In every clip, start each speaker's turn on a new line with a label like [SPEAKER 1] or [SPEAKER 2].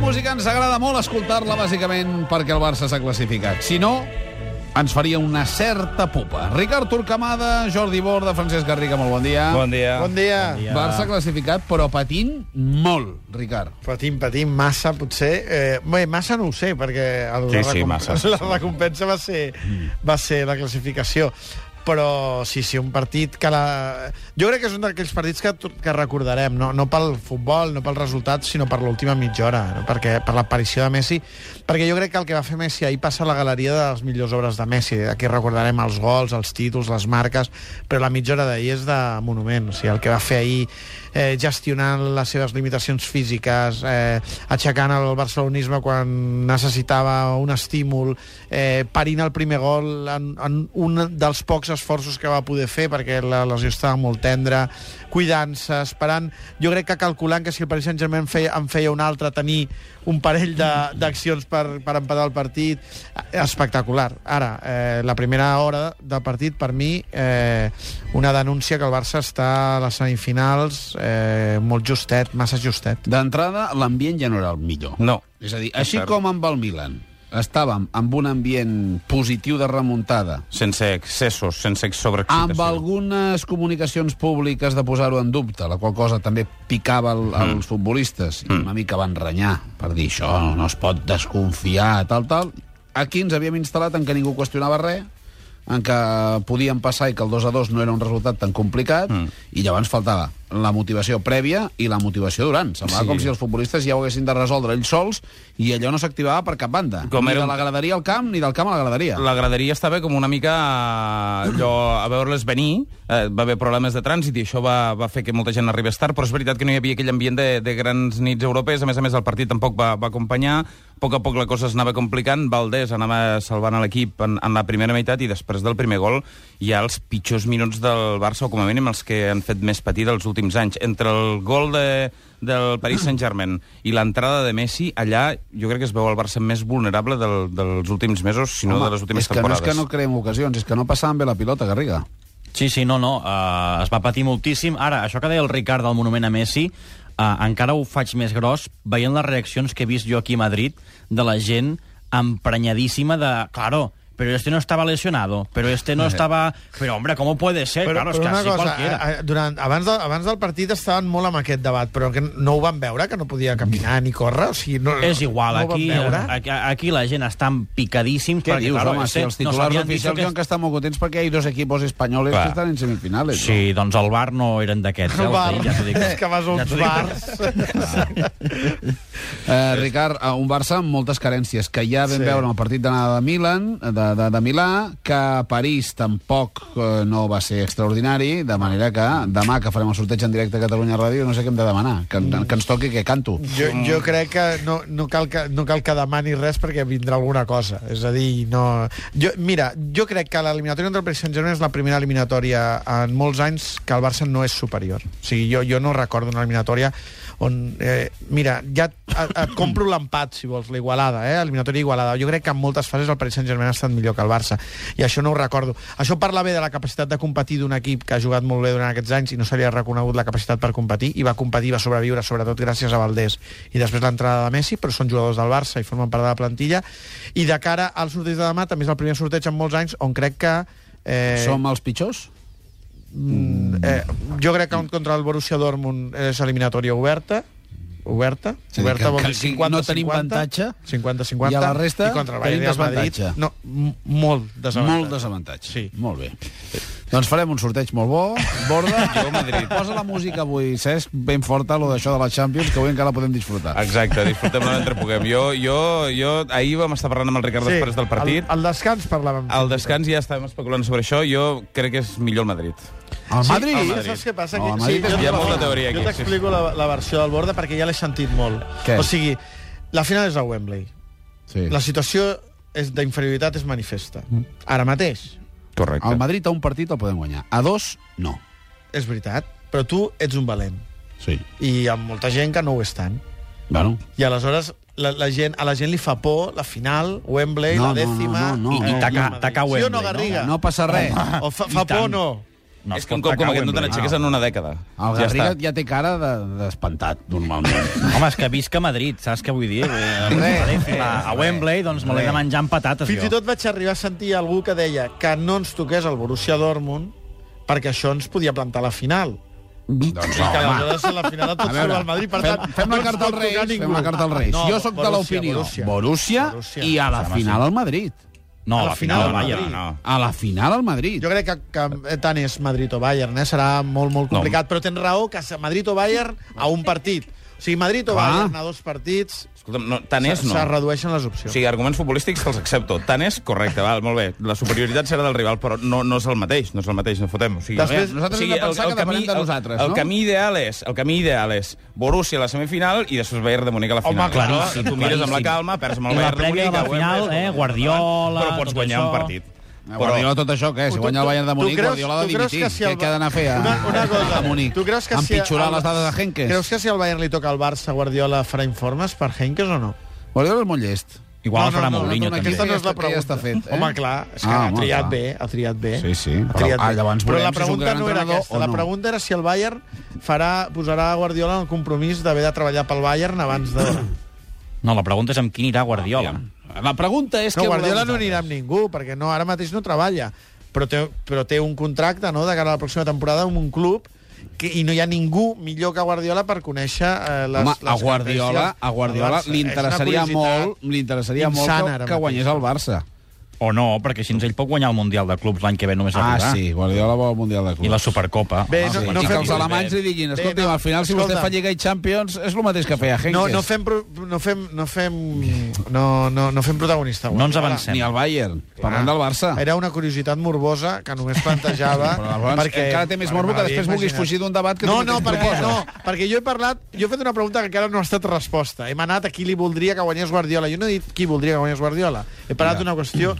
[SPEAKER 1] música ens agrada molt escoltar-la, bàsicament, perquè el Barça s'ha classificat. Si no, ens faria una certa pupa. Ricard Turcamada, Jordi Borda, Francesc Garriga, molt bon dia.
[SPEAKER 2] Bon dia.
[SPEAKER 3] Bon dia.
[SPEAKER 2] dia.
[SPEAKER 1] Barça classificat, però patint molt, Ricard.
[SPEAKER 3] Patim, patim, massa, potser. Eh, bé, massa no ho sé, perquè el,
[SPEAKER 2] Sí,
[SPEAKER 3] la,
[SPEAKER 2] sí,
[SPEAKER 3] recom-
[SPEAKER 2] massa. Mm.
[SPEAKER 3] la recompensa va ser, va ser la classificació. Però sí, sí, un partit que la... Jo crec que és un d'aquells partits que, que recordarem, no, no pel futbol, no pel resultat, sinó per l'última mitja hora, no? perquè, per l'aparició de Messi. Perquè jo crec que el que va fer Messi ahir passa a la galeria de les millors obres de Messi. Aquí recordarem els gols, els títols, les marques, però la mitja hora d'ahir és de monument. O sigui, el que va fer ahir eh, gestionant les seves limitacions físiques, eh, aixecant el barcelonisme quan necessitava un estímul, eh, parint el primer gol en, en un dels pocs esforços que va poder fer perquè la lesió estava molt tendra, cuidant-se, esperant... Jo crec que calculant que si el Paris Saint-Germain en feia, en feia un altre, tenir un parell de- d'accions per, per empatar el partit, eh, espectacular. Ara, eh, la primera hora del partit, per mi, eh, una denúncia que el Barça està a les semifinals eh, molt justet, massa justet.
[SPEAKER 1] D'entrada, l'ambient ja no era el millor.
[SPEAKER 2] No.
[SPEAKER 1] És a dir, així
[SPEAKER 2] cert.
[SPEAKER 1] com amb el Milan, estàvem amb un ambient positiu de remuntada,
[SPEAKER 2] Sense excessos, sense
[SPEAKER 1] amb
[SPEAKER 2] sobreexcitació.
[SPEAKER 1] algunes comunicacions públiques de posar-ho en dubte, la qual cosa també picava el, mm. els futbolistes, i una mica van renyar per dir això, no, no es pot desconfiar, tal, tal. Aquí ens havíem instal·lat en que ningú qüestionava res, en què podíem passar i que el 2 a 2 no era un resultat tan complicat, mm. i llavors faltava la motivació prèvia i la motivació durant. Semblava
[SPEAKER 2] Sí.
[SPEAKER 1] sí. com si els futbolistes ja ho haguessin de resoldre ells sols i allò no s'activava per cap banda.
[SPEAKER 2] Com
[SPEAKER 1] ni
[SPEAKER 2] era
[SPEAKER 1] de
[SPEAKER 2] un-
[SPEAKER 1] la graderia al camp ni del camp a la graderia.
[SPEAKER 2] La graderia estava com una mica eh, allò, a veure-les venir, eh, va haver problemes de trànsit i això va, va fer que molta gent arribés tard, però és veritat que no hi havia aquell ambient de, de grans nits europees, a més a més el partit tampoc va, va acompanyar, a poc a poc la cosa es anava complicant, Valdés anava salvant a l'equip en, en la primera meitat i després del primer gol hi ha els pitjors minuts del Barça, o com a mínim els que han fet més patir dels últims anys. Entre el gol de, del Paris Saint-Germain i l'entrada de Messi, allà jo crec que es veu el Barça més vulnerable del, dels últims mesos, si no de les últimes
[SPEAKER 1] és que
[SPEAKER 2] temporades.
[SPEAKER 1] no és que no creem ocasions, és que no passaven bé la pilota, Garriga.
[SPEAKER 4] Sí, sí, no, no, uh, es va patir moltíssim. Ara, això que deia el Ricard del monument a Messi, uh, encara ho faig més gros veient les reaccions que he vist jo aquí a Madrid de la gent emprenyadíssima de... Claro, pero este no estaba lesionado, pero este
[SPEAKER 1] Eh.
[SPEAKER 4] no estaba... Pero, hombre, ¿cómo puede
[SPEAKER 3] Eh,
[SPEAKER 4] ser? claro, es que así cualquiera.
[SPEAKER 1] eh,
[SPEAKER 3] a- a- eh, durant, abans, de, abans del partit estaven molt amb aquest debat, però que no ho van veure, que no podia caminar ni córrer? O sigui, no,
[SPEAKER 1] eh,
[SPEAKER 4] És igual,
[SPEAKER 3] no ho van
[SPEAKER 4] aquí,
[SPEAKER 3] veure?
[SPEAKER 4] aquí, aquí la gent està picadíssim.
[SPEAKER 1] Què dius, home? Si els titulars no oficials diuen que estan molt contents perquè hi ha dos equipos espanyoles
[SPEAKER 4] Clar.
[SPEAKER 1] que estan en semifinales.
[SPEAKER 4] Sí, doncs el bar no eren d'aquests. Eh?
[SPEAKER 3] El bar.
[SPEAKER 4] els d'ahir, Ja t'ho dic.
[SPEAKER 3] és que vas a uns
[SPEAKER 4] t'ho dic.
[SPEAKER 3] bars.
[SPEAKER 1] No? Eh, Ricard, eh, un Barça amb moltes carències, que ja vam
[SPEAKER 3] Sí.
[SPEAKER 1] sí. veure en el partit d'anada de Milan, de, de, de Milà, que a París tampoc eh, no va ser extraordinari, de manera que demà que farem el sorteig en directe a Catalunya Ràdio no sé què hem de demanar, que, que ens toqui que canto.
[SPEAKER 3] Jo, jo crec que no, no, cal que no cal que demani res perquè vindrà alguna cosa. És a dir, no... Jo, mira, jo crec que l'eliminatòria entre el Paris Saint-Germain és la primera eliminatòria en molts anys que el Barça no és superior. O sigui, jo, jo no recordo una eliminatòria on... Eh, mira, ja et, et- et compro l'empat, si vols, l'Igualada, eh? eliminatòria Igualada. Jo crec que en moltes fases el Paris Saint-Germain ha estat millor que el Barça, i això no ho recordo. Això parla bé de la capacitat de competir d'un equip que ha jugat molt bé durant aquests anys i no se li ha reconegut la capacitat per competir, i va competir, va sobreviure, sobretot gràcies a Valdés i després l'entrada de Messi, però són jugadors del Barça i formen part de la plantilla, i de cara al sorteig de demà, també és el primer sorteig en molts anys on crec que Eh,
[SPEAKER 1] Som els pitjors?
[SPEAKER 3] mm, eh, jo crec que un contra el Borussia Dortmund és eliminatòria oberta, oberta,
[SPEAKER 1] És a dir,
[SPEAKER 3] oberta
[SPEAKER 1] que-
[SPEAKER 3] vol
[SPEAKER 1] que
[SPEAKER 3] dir
[SPEAKER 1] si
[SPEAKER 3] 50,
[SPEAKER 1] no tenim
[SPEAKER 3] 50,
[SPEAKER 1] avantatge,
[SPEAKER 3] 50-50
[SPEAKER 1] i a la resta
[SPEAKER 3] i contra el
[SPEAKER 1] tenim
[SPEAKER 3] Bayern i el Madrid,
[SPEAKER 1] desavantatge.
[SPEAKER 3] no, m- molt desavantatge.
[SPEAKER 1] Molt desavantatge.
[SPEAKER 3] Sí.
[SPEAKER 1] Molt bé. Doncs farem un sorteig molt bo. Borda,
[SPEAKER 2] Jo, Madrid.
[SPEAKER 1] posa la música avui, Cesc, ben forta, lo d'això de la Champions, que avui encara la podem disfrutar.
[SPEAKER 2] Exacte, disfrutem-la mentre puguem. Jo, jo, jo, ahir vam estar parlant amb el Ricard sí, després del partit.
[SPEAKER 3] Al, al descans parlàvem.
[SPEAKER 2] Al descans ja estàvem especulant sobre això. Jo crec que és millor el Madrid.
[SPEAKER 1] El Madrid?
[SPEAKER 3] Sí, saps què passa?
[SPEAKER 1] No,
[SPEAKER 3] Que,
[SPEAKER 1] el Madrid és
[SPEAKER 3] jo-
[SPEAKER 2] Hi ha molta teoria aquí,
[SPEAKER 3] Jo t'explico la, la versió del Borda perquè ja l'he sentit molt.
[SPEAKER 1] Què?
[SPEAKER 3] O sigui, la final és a Wembley.
[SPEAKER 1] Sí. Mm.
[SPEAKER 3] La situació és d'inferioritat és manifesta. Ara mateix,
[SPEAKER 2] Correcte.
[SPEAKER 1] El Madrid a un partit el podem guanyar. A dos, no.
[SPEAKER 3] és veritat, però tu ets un valent.
[SPEAKER 1] Sí.
[SPEAKER 3] I hi ha molta gent que no ho és tant.
[SPEAKER 1] Bueno,
[SPEAKER 3] I aleshores la, la gent, a la gent li fa por la final, Wembley,
[SPEAKER 1] No,
[SPEAKER 3] la
[SPEAKER 1] no, no,
[SPEAKER 3] dècima...
[SPEAKER 1] no, no. I
[SPEAKER 3] eh,
[SPEAKER 4] tacar-
[SPEAKER 3] Madrid.
[SPEAKER 4] tacar
[SPEAKER 3] Sí o
[SPEAKER 4] Wembley,
[SPEAKER 3] no, Garriga?
[SPEAKER 1] no passa res.
[SPEAKER 3] O fa, fa
[SPEAKER 4] tant.
[SPEAKER 3] por o no?
[SPEAKER 4] No,
[SPEAKER 2] No, és que un
[SPEAKER 4] pot
[SPEAKER 2] cop com
[SPEAKER 4] atacar
[SPEAKER 2] aquest no te
[SPEAKER 4] Wembley.
[SPEAKER 2] n'aixeques en una dècada.
[SPEAKER 1] El
[SPEAKER 2] ja
[SPEAKER 1] Garriga
[SPEAKER 2] està.
[SPEAKER 1] ja, té cara de- d'espantat, de, normalment.
[SPEAKER 4] Home, és que visc a Madrid, saps què vull dir? Eh, a, a Wembley, doncs me l'he de menjar amb patates,
[SPEAKER 3] Fins i
[SPEAKER 4] jo.
[SPEAKER 3] tot vaig arribar a sentir algú que deia que no ens toqués el Borussia Dortmund perquè això ens podia plantar la final.
[SPEAKER 1] doncs no, home.
[SPEAKER 3] que aleshores a la final de tot
[SPEAKER 1] veure,
[SPEAKER 3] surt el Madrid, per
[SPEAKER 1] fem-
[SPEAKER 3] tant...
[SPEAKER 1] fem la
[SPEAKER 3] no ens
[SPEAKER 1] carta
[SPEAKER 3] pot
[SPEAKER 1] als Reis,
[SPEAKER 3] tocar
[SPEAKER 1] fem
[SPEAKER 3] ningú.
[SPEAKER 1] la carta als Reis.
[SPEAKER 3] No,
[SPEAKER 1] Jo sóc de l'opinió. Doncs Borussia,
[SPEAKER 3] Borussia.
[SPEAKER 1] i a la
[SPEAKER 4] Home, sí.
[SPEAKER 1] final al Madrid.
[SPEAKER 4] No,
[SPEAKER 3] a
[SPEAKER 4] a
[SPEAKER 3] la
[SPEAKER 4] la final,
[SPEAKER 3] final,
[SPEAKER 4] vaja,
[SPEAKER 2] Ah,
[SPEAKER 3] Madrid.
[SPEAKER 4] no.
[SPEAKER 1] A la final al Madrid.
[SPEAKER 3] Jo crec que, que tant és Madrid o Bayern, eh? serà molt, molt complicat, no. però tens raó que se- Madrid o Bayern a un partit. O sigui, Madrid o
[SPEAKER 1] Clar.
[SPEAKER 3] Bayern a dos partits
[SPEAKER 2] Escolta'm, no, tant és,
[SPEAKER 3] se, se
[SPEAKER 2] no.
[SPEAKER 3] redueixen les opcions.
[SPEAKER 2] O sigui, arguments futbolístics te'ls accepto. Tant és, correcte, val, molt bé. La superioritat serà del rival, però no, no és el mateix, no és el mateix, no fotem. O sigui,
[SPEAKER 3] Després-
[SPEAKER 2] a
[SPEAKER 1] Nosaltres hem de pensar que depenem de nosaltres,
[SPEAKER 2] el, el
[SPEAKER 1] no?
[SPEAKER 2] Camí ideal és, el camí ideal és Borussia a la semifinal i després Bayern de Múnich a la
[SPEAKER 3] Home,
[SPEAKER 2] final.
[SPEAKER 4] claríssim,
[SPEAKER 2] Tu mires amb la
[SPEAKER 4] claríssim.
[SPEAKER 2] calma, perds amb el
[SPEAKER 4] I la
[SPEAKER 2] Bayern de
[SPEAKER 4] prèvia
[SPEAKER 2] Múnich...
[SPEAKER 4] de
[SPEAKER 2] ja ho
[SPEAKER 4] la
[SPEAKER 2] hem
[SPEAKER 4] final,
[SPEAKER 2] vist,
[SPEAKER 4] eh,
[SPEAKER 2] com-
[SPEAKER 4] Guardiola,
[SPEAKER 2] Però pots
[SPEAKER 4] tot
[SPEAKER 2] guanyar
[SPEAKER 4] això.
[SPEAKER 2] un partit.
[SPEAKER 1] Però... Eh, Guardiola tot això, què? Si
[SPEAKER 3] Tu-
[SPEAKER 1] guanya el
[SPEAKER 3] tu-
[SPEAKER 1] Bayern de
[SPEAKER 3] tu
[SPEAKER 1] Múnich,
[SPEAKER 3] creus-
[SPEAKER 1] Guardiola ha de
[SPEAKER 3] tu creres
[SPEAKER 1] dimitir.
[SPEAKER 3] que si
[SPEAKER 1] Què,
[SPEAKER 3] el-
[SPEAKER 1] què ha d'anar a fer a,
[SPEAKER 3] Una, una cosa,
[SPEAKER 1] a Múnich?
[SPEAKER 3] Tu creus que si
[SPEAKER 1] Empitjorar
[SPEAKER 3] al-
[SPEAKER 1] les dades de Henkes?
[SPEAKER 3] Creus que si al Bayern li toca al Barça, Guardiola farà informes per Henkes o no?
[SPEAKER 1] Guardiola és molt llest.
[SPEAKER 4] Igual no, farà
[SPEAKER 1] no,
[SPEAKER 4] Mourinho,
[SPEAKER 1] no,
[SPEAKER 4] no, també.
[SPEAKER 3] Aquesta no és la
[SPEAKER 1] Que ja
[SPEAKER 3] pregunta.
[SPEAKER 1] està fet, eh?
[SPEAKER 3] Home, clar, és que
[SPEAKER 1] Ah,
[SPEAKER 3] ha
[SPEAKER 1] home,
[SPEAKER 4] clar.
[SPEAKER 3] triat bé, ha triat bé.
[SPEAKER 1] Sí, sí,
[SPEAKER 3] Ha
[SPEAKER 1] però-
[SPEAKER 3] triat
[SPEAKER 1] ah,
[SPEAKER 3] bé.
[SPEAKER 1] llavors
[SPEAKER 3] però
[SPEAKER 1] veurem
[SPEAKER 3] la
[SPEAKER 1] si és un
[SPEAKER 3] pregunta
[SPEAKER 1] gran
[SPEAKER 3] no era
[SPEAKER 1] entrenador
[SPEAKER 3] aquesta,
[SPEAKER 1] o
[SPEAKER 3] la
[SPEAKER 1] no.
[SPEAKER 3] pregunta era si el Bayern farà, posarà a Guardiola en el compromís d'haver de treballar pel Bayern abans de...
[SPEAKER 4] No, la pregunta és amb qui anirà Guardiola.
[SPEAKER 1] La pregunta és
[SPEAKER 3] No,
[SPEAKER 1] què
[SPEAKER 3] Guardiola
[SPEAKER 1] voleu
[SPEAKER 3] no anirà
[SPEAKER 1] vosaltres.
[SPEAKER 3] amb ningú, perquè no, ara mateix no treballa, però té, però té un contracte no, de cara a la pròxima temporada amb un club que, i no hi ha ningú millor que Guardiola per conèixer eh, les,
[SPEAKER 1] Home,
[SPEAKER 3] les
[SPEAKER 1] a Guardiola,
[SPEAKER 3] característiques
[SPEAKER 1] a Guardiola
[SPEAKER 3] del Barça.
[SPEAKER 1] li
[SPEAKER 3] És una
[SPEAKER 1] interessaria
[SPEAKER 3] curiositat.
[SPEAKER 1] molt, li interessaria molt
[SPEAKER 3] insana
[SPEAKER 1] que,
[SPEAKER 3] ara
[SPEAKER 1] que
[SPEAKER 3] mateix.
[SPEAKER 1] guanyés el Barça.
[SPEAKER 4] O no, perquè així ell pot guanyar el Mundial de Clubs l'any que ve només
[SPEAKER 1] Ah,
[SPEAKER 4] arribar.
[SPEAKER 1] sí, Guardiola vol el Mundial de Clubs.
[SPEAKER 4] I la Supercopa.
[SPEAKER 3] Bé,
[SPEAKER 4] Ah,
[SPEAKER 1] Sí,
[SPEAKER 4] sí.
[SPEAKER 1] I
[SPEAKER 3] no
[SPEAKER 1] que
[SPEAKER 3] fem- eh,
[SPEAKER 1] els alemanys li diguin,
[SPEAKER 3] Bé,
[SPEAKER 1] escolti,
[SPEAKER 3] no,
[SPEAKER 1] al final, si vostè
[SPEAKER 3] escolta.
[SPEAKER 1] fa Lliga i Champions, és el mateix que feia Henkes.
[SPEAKER 3] No, no fem, pro- no fem, no fem, no, no, no fem protagonista.
[SPEAKER 4] No ens
[SPEAKER 3] Guardiola.
[SPEAKER 4] avancem.
[SPEAKER 1] Ni el Bayern. Parlem del Barça.
[SPEAKER 3] Ah. Era una curiositat morbosa que només plantejava...
[SPEAKER 1] Però llavors encara té més morbo que després vulguis fugir d'un debat que
[SPEAKER 3] no,
[SPEAKER 1] tu
[SPEAKER 3] no,
[SPEAKER 1] mateix
[SPEAKER 3] perquè,
[SPEAKER 1] proposes.
[SPEAKER 3] no, perquè jo he parlat... Jo he fet una pregunta que encara no ha estat resposta. Hem anat a qui li voldria que guanyés Guardiola. Jo no he dit qui voldria que guanyés Guardiola. He parlat d'una qüestió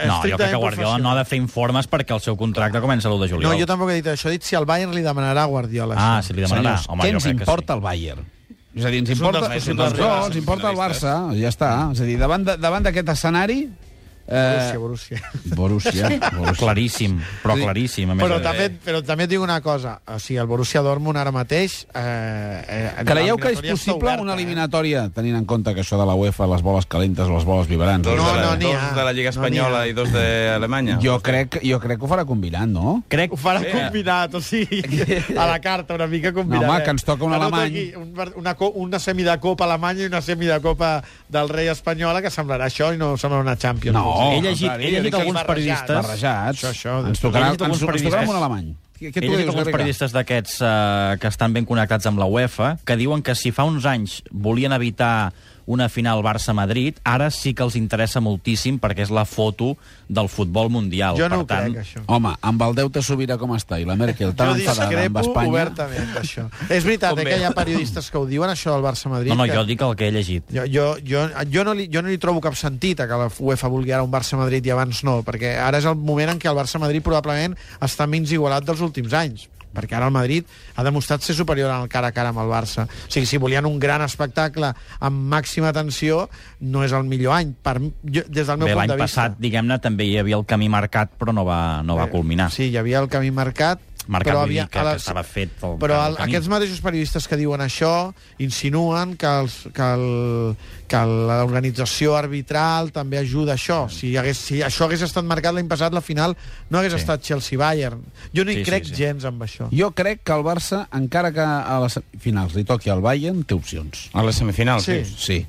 [SPEAKER 4] No, jo crec
[SPEAKER 3] estrictament
[SPEAKER 4] que Guardiola no ha de fer informes perquè el seu contracte comença l'1 de
[SPEAKER 3] No,
[SPEAKER 4] juliol.
[SPEAKER 3] jo tampoc he dit això. He dit si el Bayern li demanarà a Guardiola.
[SPEAKER 4] Ah,
[SPEAKER 3] això.
[SPEAKER 4] si li demanarà.
[SPEAKER 1] Senyors,
[SPEAKER 4] Home,
[SPEAKER 1] què
[SPEAKER 4] jo
[SPEAKER 1] ens
[SPEAKER 4] crec que
[SPEAKER 1] importa el Bayern? És a dir, ens
[SPEAKER 3] És un
[SPEAKER 1] importa,
[SPEAKER 3] dels- és un
[SPEAKER 1] doncs
[SPEAKER 3] dels
[SPEAKER 1] no,
[SPEAKER 3] rivals
[SPEAKER 1] ens importa el Barça, ja està. És a dir, davant de- davant d'aquest escenari... Eh,
[SPEAKER 3] Borussia, Borussia.
[SPEAKER 1] Borussia. Borussia.
[SPEAKER 4] Claríssim, però
[SPEAKER 1] Sí.
[SPEAKER 4] claríssim. A més
[SPEAKER 3] Però
[SPEAKER 4] a més.
[SPEAKER 3] també, però també et dic una cosa, o sigui, el Borussia Dortmund ara mateix... Eh, eh,
[SPEAKER 1] Creieu que és
[SPEAKER 3] l'eliminatòria està
[SPEAKER 1] possible
[SPEAKER 3] oberta,
[SPEAKER 1] una
[SPEAKER 3] eh?
[SPEAKER 1] eliminatòria, tenint en compte que això de la UEFA, les boles calentes o les boles vibrants...
[SPEAKER 2] Dos,
[SPEAKER 3] No,
[SPEAKER 2] de, la,
[SPEAKER 3] no, n'hi ha.
[SPEAKER 2] dos de la Lliga
[SPEAKER 3] No n'hi ha.
[SPEAKER 2] Espanyola i dos d'Alemanya.
[SPEAKER 1] Jo crec, jo crec que ho farà combinant, no?
[SPEAKER 4] Crec
[SPEAKER 3] Ho farà
[SPEAKER 2] Sí.
[SPEAKER 3] combinat, o sigui, a la carta, una mica combinat.
[SPEAKER 1] No, home,
[SPEAKER 3] eh?
[SPEAKER 1] que ens toca un
[SPEAKER 3] Que no
[SPEAKER 1] alemany.
[SPEAKER 3] toqui Un, ver- una, co- una semi de Copa Alemanya i una semi de Copa del rei espanyola, que semblarà això i no semblarà una Champions.
[SPEAKER 1] No.
[SPEAKER 3] O sigui,
[SPEAKER 4] he llegit,
[SPEAKER 1] contrari,
[SPEAKER 4] he
[SPEAKER 1] jo dic
[SPEAKER 4] llegit
[SPEAKER 1] que és
[SPEAKER 4] alguns
[SPEAKER 3] barrejat,
[SPEAKER 4] periodistes...
[SPEAKER 1] Barrejats.
[SPEAKER 3] Això, això.
[SPEAKER 1] ens tocarà,
[SPEAKER 4] He
[SPEAKER 1] ens,
[SPEAKER 4] llegit alguns
[SPEAKER 1] ens tocarà
[SPEAKER 4] periodistes.
[SPEAKER 1] un alemany. Què, què
[SPEAKER 4] He
[SPEAKER 1] tu
[SPEAKER 4] llegit
[SPEAKER 1] dius,
[SPEAKER 4] alguns
[SPEAKER 1] Garriga?
[SPEAKER 4] periodistes d'aquests eh, que estan ben connectats amb la UEFA, que diuen que si fa uns anys volien evitar una final Barça-Madrid, ara sí que els interessa moltíssim perquè és la foto del futbol mundial.
[SPEAKER 3] Jo no ho
[SPEAKER 4] per tant,
[SPEAKER 3] crec, això.
[SPEAKER 1] Home, amb el deute sobirà com està i la Merkel tan
[SPEAKER 3] Jo
[SPEAKER 1] enfadada amb
[SPEAKER 3] discrepo
[SPEAKER 1] Espanya...
[SPEAKER 3] obertament d'això. És veritat, eh, que hi ha periodistes que ho diuen, això del Barça-Madrid.
[SPEAKER 4] No, no,
[SPEAKER 3] que-
[SPEAKER 4] jo dic el que he llegit.
[SPEAKER 3] Jo, jo, jo, jo, no li, jo no li trobo cap sentit a que la UEFA vulgui ara un Barça-Madrid i abans no, perquè ara és el moment en què el Barça-Madrid probablement està menys igualat dels últims anys perquè ara el Madrid ha demostrat ser superior en el cara a cara amb el Barça. O sigui, si volien un gran espectacle amb màxima tensió, no és el millor any, per, mi- jo, des del meu
[SPEAKER 4] Bé,
[SPEAKER 3] punt de
[SPEAKER 4] l'any
[SPEAKER 3] vista.
[SPEAKER 4] passat, diguem-ne, també hi havia el camí marcat, però no va, no va culminar.
[SPEAKER 3] Eh, Sí, hi havia el camí marcat,
[SPEAKER 4] Marcat
[SPEAKER 3] però
[SPEAKER 4] vull
[SPEAKER 3] havia,
[SPEAKER 4] dir que-
[SPEAKER 3] a la-
[SPEAKER 4] que estava fet el-
[SPEAKER 3] però el,
[SPEAKER 4] el camí.
[SPEAKER 3] aquests mateixos periodistes que diuen això insinuen que, els, que, el, que l'organització arbitral també ajuda a això.
[SPEAKER 4] Mm.
[SPEAKER 3] Si, hagués, si això hagués estat marcat l'any passat, la final no hagués sí. estat Chelsea-Bayern. Jo no hi
[SPEAKER 4] Sí,
[SPEAKER 3] sí,
[SPEAKER 4] sí,
[SPEAKER 3] crec
[SPEAKER 4] sí.
[SPEAKER 3] sí, sí. gens amb això.
[SPEAKER 1] Jo crec que el Barça, encara que a les finals li toqui al Bayern, té opcions.
[SPEAKER 2] A les semifinals,
[SPEAKER 3] Sí.
[SPEAKER 2] dius?
[SPEAKER 1] Sí.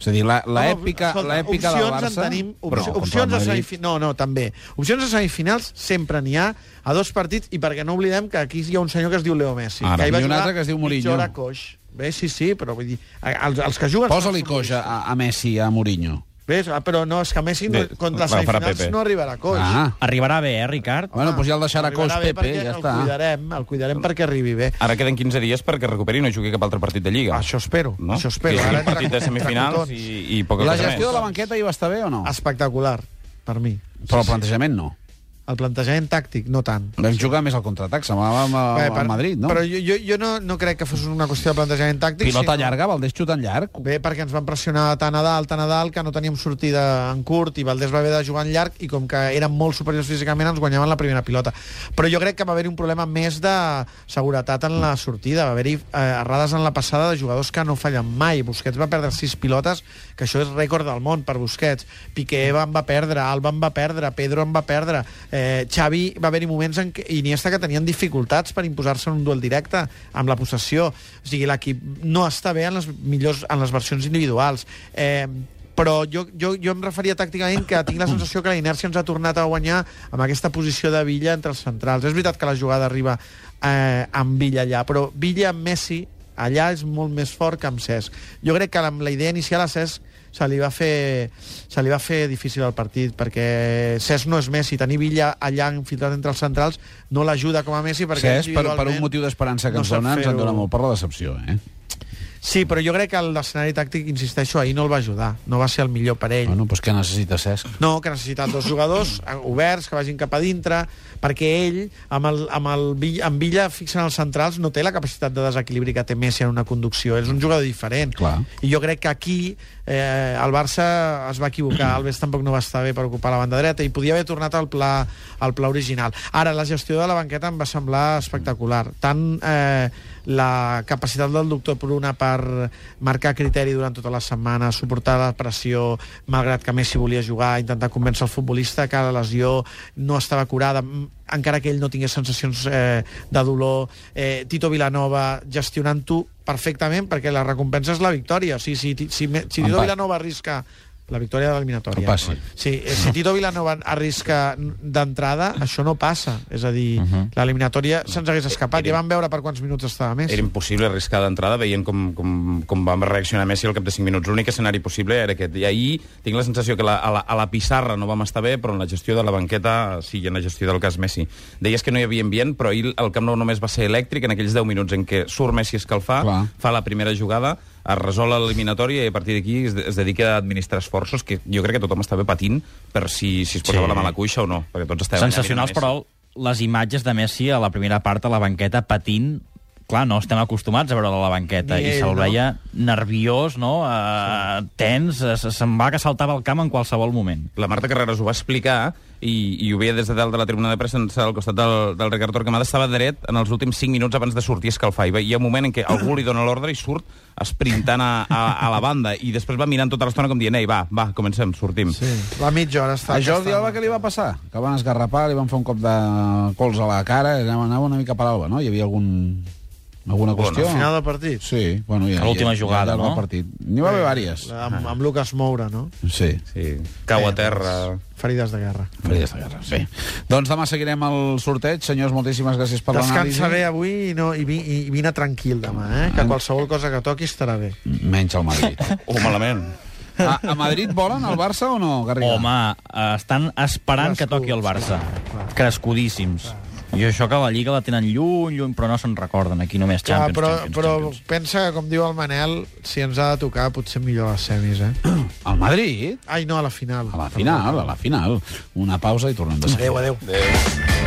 [SPEAKER 1] És a dir, la- l'èpica
[SPEAKER 3] Home, escolta,
[SPEAKER 1] l'èpica del
[SPEAKER 3] opcions
[SPEAKER 1] Barça...
[SPEAKER 3] En tenim, op
[SPEAKER 1] però contra
[SPEAKER 3] opcions
[SPEAKER 1] el
[SPEAKER 3] a
[SPEAKER 1] Madrid-
[SPEAKER 3] semifinals... No, no, també. Opcions a semifinals sempre n'hi ha, a dos partits, i perquè no oblidem que aquí hi ha un senyor que es diu Leo Messi.
[SPEAKER 1] Ara,
[SPEAKER 3] que ahir va
[SPEAKER 1] i un
[SPEAKER 3] jugar
[SPEAKER 1] altre que es diu
[SPEAKER 3] mitja
[SPEAKER 1] Mourinho.
[SPEAKER 3] hora a coix. Bé, sí, sí, però vull dir, a- els, els que juguen...
[SPEAKER 1] Posa-li coix a, a Messi, a Mourinho.
[SPEAKER 3] Bé, ah, però no, és que Messi no,
[SPEAKER 2] Bé,
[SPEAKER 3] contra les
[SPEAKER 2] va, farà
[SPEAKER 3] semifinals
[SPEAKER 2] Pepe.
[SPEAKER 3] no arribarà a coix.
[SPEAKER 1] Ah,
[SPEAKER 4] Arribarà bé, eh, Ricard?
[SPEAKER 1] bueno, doncs ja el deixarà coix
[SPEAKER 3] Arribarà bé
[SPEAKER 1] Pepe,
[SPEAKER 3] perquè
[SPEAKER 1] ja
[SPEAKER 3] el
[SPEAKER 1] està.
[SPEAKER 3] Cuidarem, el cuidarem perquè arribi bé.
[SPEAKER 2] Ara queden 15 dies perquè recuperi i no jugui cap altre partit de Lliga.
[SPEAKER 3] Això espero,
[SPEAKER 2] no?
[SPEAKER 3] això espero.
[SPEAKER 2] Sí, sí,
[SPEAKER 3] Ara
[SPEAKER 2] un partit de
[SPEAKER 3] entre- entre
[SPEAKER 2] semifinals
[SPEAKER 3] cotons.
[SPEAKER 2] i, i poca
[SPEAKER 1] La
[SPEAKER 2] cosa
[SPEAKER 1] gestió de
[SPEAKER 2] més.
[SPEAKER 1] la banqueta hi va estar bé o no?
[SPEAKER 3] Espectacular, per mi.
[SPEAKER 1] Però el plantejament no.
[SPEAKER 3] El plantejament tàctic, no tant.
[SPEAKER 1] Vam jugar més al contraatac, semblava amb,
[SPEAKER 3] Bé,
[SPEAKER 1] amb,
[SPEAKER 3] per-
[SPEAKER 1] amb Madrid, no?
[SPEAKER 3] Però jo, jo, jo no, no crec que fos una qüestió de plantejament tàctic.
[SPEAKER 1] Pilota
[SPEAKER 3] sinó-
[SPEAKER 1] llarga, Valdés xutant llarg.
[SPEAKER 3] Bé, perquè ens van pressionar tant a dalt, tant a dalt, que no teníem sortida en curt i Valdés va haver de jugar en llarg i com que eren molt superiors físicament ens guanyaven la primera pilota. Però jo crec que va haver-hi un problema més de seguretat en la sortida. Va haver-hi eh, errades en la passada de jugadors que no fallen mai. Busquets va perdre sis pilotes, que això és rècord del món per Busquets. Piqué va- en va perdre, Alba en va perdre, Pedro en va perdre. Eh, Xavi va haver-hi moments en què Iniesta que tenien dificultats per imposar-se en un duel directe amb la possessió. O sigui, l'equip no està bé en les, millors, en les versions individuals. Eh, però jo, jo, jo em referia tàcticament que tinc la sensació que la inèrcia ens ha tornat a guanyar amb aquesta posició de Villa entre els centrals. És veritat que la jugada arriba eh, amb Villa allà, però Villa amb Messi allà és molt més fort que amb Cesc. Jo crec que amb la idea inicial a Cesc se li, va fer, se li va fer difícil el partit, perquè Cesc no és Messi, tenir Villa allà infiltrat entre els centrals no l'ajuda com a Messi, perquè
[SPEAKER 1] Cesc, per, per un motiu d'esperança que
[SPEAKER 3] no
[SPEAKER 1] ens
[SPEAKER 3] sap
[SPEAKER 1] dona, ens en
[SPEAKER 3] fer-ho.
[SPEAKER 1] dona molt per la decepció, eh?
[SPEAKER 3] Sí, però jo crec que l'escenari tàctic, insisteixo, ahir no el va ajudar, no va ser el millor per ell.
[SPEAKER 1] Bueno, doncs què necessita Cesc?
[SPEAKER 3] No, que necessita dos jugadors eh, oberts, que vagin cap a dintre, perquè ell, amb, el, amb, el, Vi- amb Villa fixant els centrals, no té la capacitat de desequilibri que té Messi en una conducció. És un jugador diferent.
[SPEAKER 1] Clar.
[SPEAKER 3] I jo crec que aquí eh, el Barça es va equivocar. Alves tampoc no va estar bé per ocupar la banda dreta i podia haver tornat al pla, al pla original. Ara, la gestió de la banqueta em va semblar espectacular. Tant eh, la capacitat del doctor Pruna per marcar criteri durant tota la setmana, suportar la pressió, malgrat que Messi volia jugar, intentar convèncer el futbolista que la lesió no estava curada, m- encara que ell no tingués sensacions eh, de dolor. Eh, Tito Vilanova gestionant-ho perfectament, perquè la recompensa és la victòria. O sigui, si, ti- si, me- si Tito
[SPEAKER 1] Empat.
[SPEAKER 3] Vilanova arrisca la victòria de l'eliminatòria.
[SPEAKER 1] No passi.
[SPEAKER 3] Sí, eh, si Tito Vilanova arrisca d'entrada, això no passa. És a dir, uh -huh. l'eliminatòria se'ns hagués escapat. Ja vam veure per quants minuts estava més.
[SPEAKER 2] Era impossible arriscar d'entrada veient com, com, com va reaccionar Messi al cap de 5 minuts. L'únic escenari possible era aquest. I ahir tinc la sensació que la, a, la, a la pissarra no vam estar bé, però en la gestió de la banqueta sí, i en la gestió del cas Messi. Deies que no hi havia ambient, però ahir el Camp Nou només va ser elèctric en aquells 10 minuts en què surt Messi a escalfar,
[SPEAKER 1] Clar.
[SPEAKER 2] fa la primera jugada, es resol l'eliminatòria i a partir d'aquí es, es dedica a administrar esforços que jo crec que tothom estava patint per si, si es posava
[SPEAKER 4] Sí.
[SPEAKER 2] sí. la mala cuixa o no, perquè tots estàvem...
[SPEAKER 4] Sensacionals, però, les imatges de Messi a la primera part a la banqueta patint clar, no estem acostumats a veure a la banqueta
[SPEAKER 3] Ni
[SPEAKER 4] i
[SPEAKER 3] ell,
[SPEAKER 4] se'l
[SPEAKER 3] Eh, no?
[SPEAKER 4] veia nerviós, no? Uh, tens, eh, se- se'n va que saltava el camp en qualsevol moment.
[SPEAKER 2] La Marta Carreras ho va explicar i, i ho veia des de dalt de la tribuna de premsa sense- al costat del, del Ricard Torquemada estava dret en els últims 5 minuts abans de sortir a escalfar i va- hi ha un moment en què algú li dona l'ordre i surt esprintant a, a, a la banda i després va mirant tota l'estona com dient ei va, va, comencem, sortim
[SPEAKER 3] Sí, la mitja hora està...
[SPEAKER 1] A Jordi
[SPEAKER 3] està-
[SPEAKER 1] Alba què li va passar? Que van esgarrapar, li van fer un cop de cols a la cara, anava, anava una mica per Alba, no? Hi havia algun, alguna
[SPEAKER 2] Bueno,
[SPEAKER 1] qüestió?
[SPEAKER 3] Al final del partit.
[SPEAKER 1] Sí, bueno, ja,
[SPEAKER 4] A l'última
[SPEAKER 1] ja- ja
[SPEAKER 4] jugada,
[SPEAKER 1] llarg del
[SPEAKER 4] no?
[SPEAKER 1] Partit. N'hi va haver vàries.
[SPEAKER 3] La- Amb, amb Lucas Moura, no?
[SPEAKER 1] Sí.
[SPEAKER 2] sí. cau a terra
[SPEAKER 3] Ferides de guerra.
[SPEAKER 1] Ferides de guerra. Bé. Doncs demà seguirem el sorteig. Senyors, moltíssimes gràcies per l'anàlisi.
[SPEAKER 3] Descansa bé avui i, no, i, vi, i vine tranquil demà, eh? Que qualsevol cosa que toqui estarà bé.
[SPEAKER 1] Menys al Madrid.
[SPEAKER 2] o Oh, malament
[SPEAKER 1] A, a Madrid volen el Barça o no, Garriga?
[SPEAKER 4] Home, eh, estan esperant que toqui el Barça. Crescudíssims. I això que la Lliga la tenen lluny, lluny, però no se'n recorden. Aquí només
[SPEAKER 3] Clar,
[SPEAKER 4] Champions,
[SPEAKER 3] però,
[SPEAKER 4] Champions,
[SPEAKER 3] però
[SPEAKER 4] Champions.
[SPEAKER 3] pensa que, com diu el Manel, si ens ha de tocar, potser millor a les semis, eh?
[SPEAKER 1] Al Madrid?
[SPEAKER 3] Ai, no, a la final.
[SPEAKER 1] A la final, a la final. Una pausa i tornem de seguida.
[SPEAKER 3] Adéu, adéu.
[SPEAKER 2] Adéu.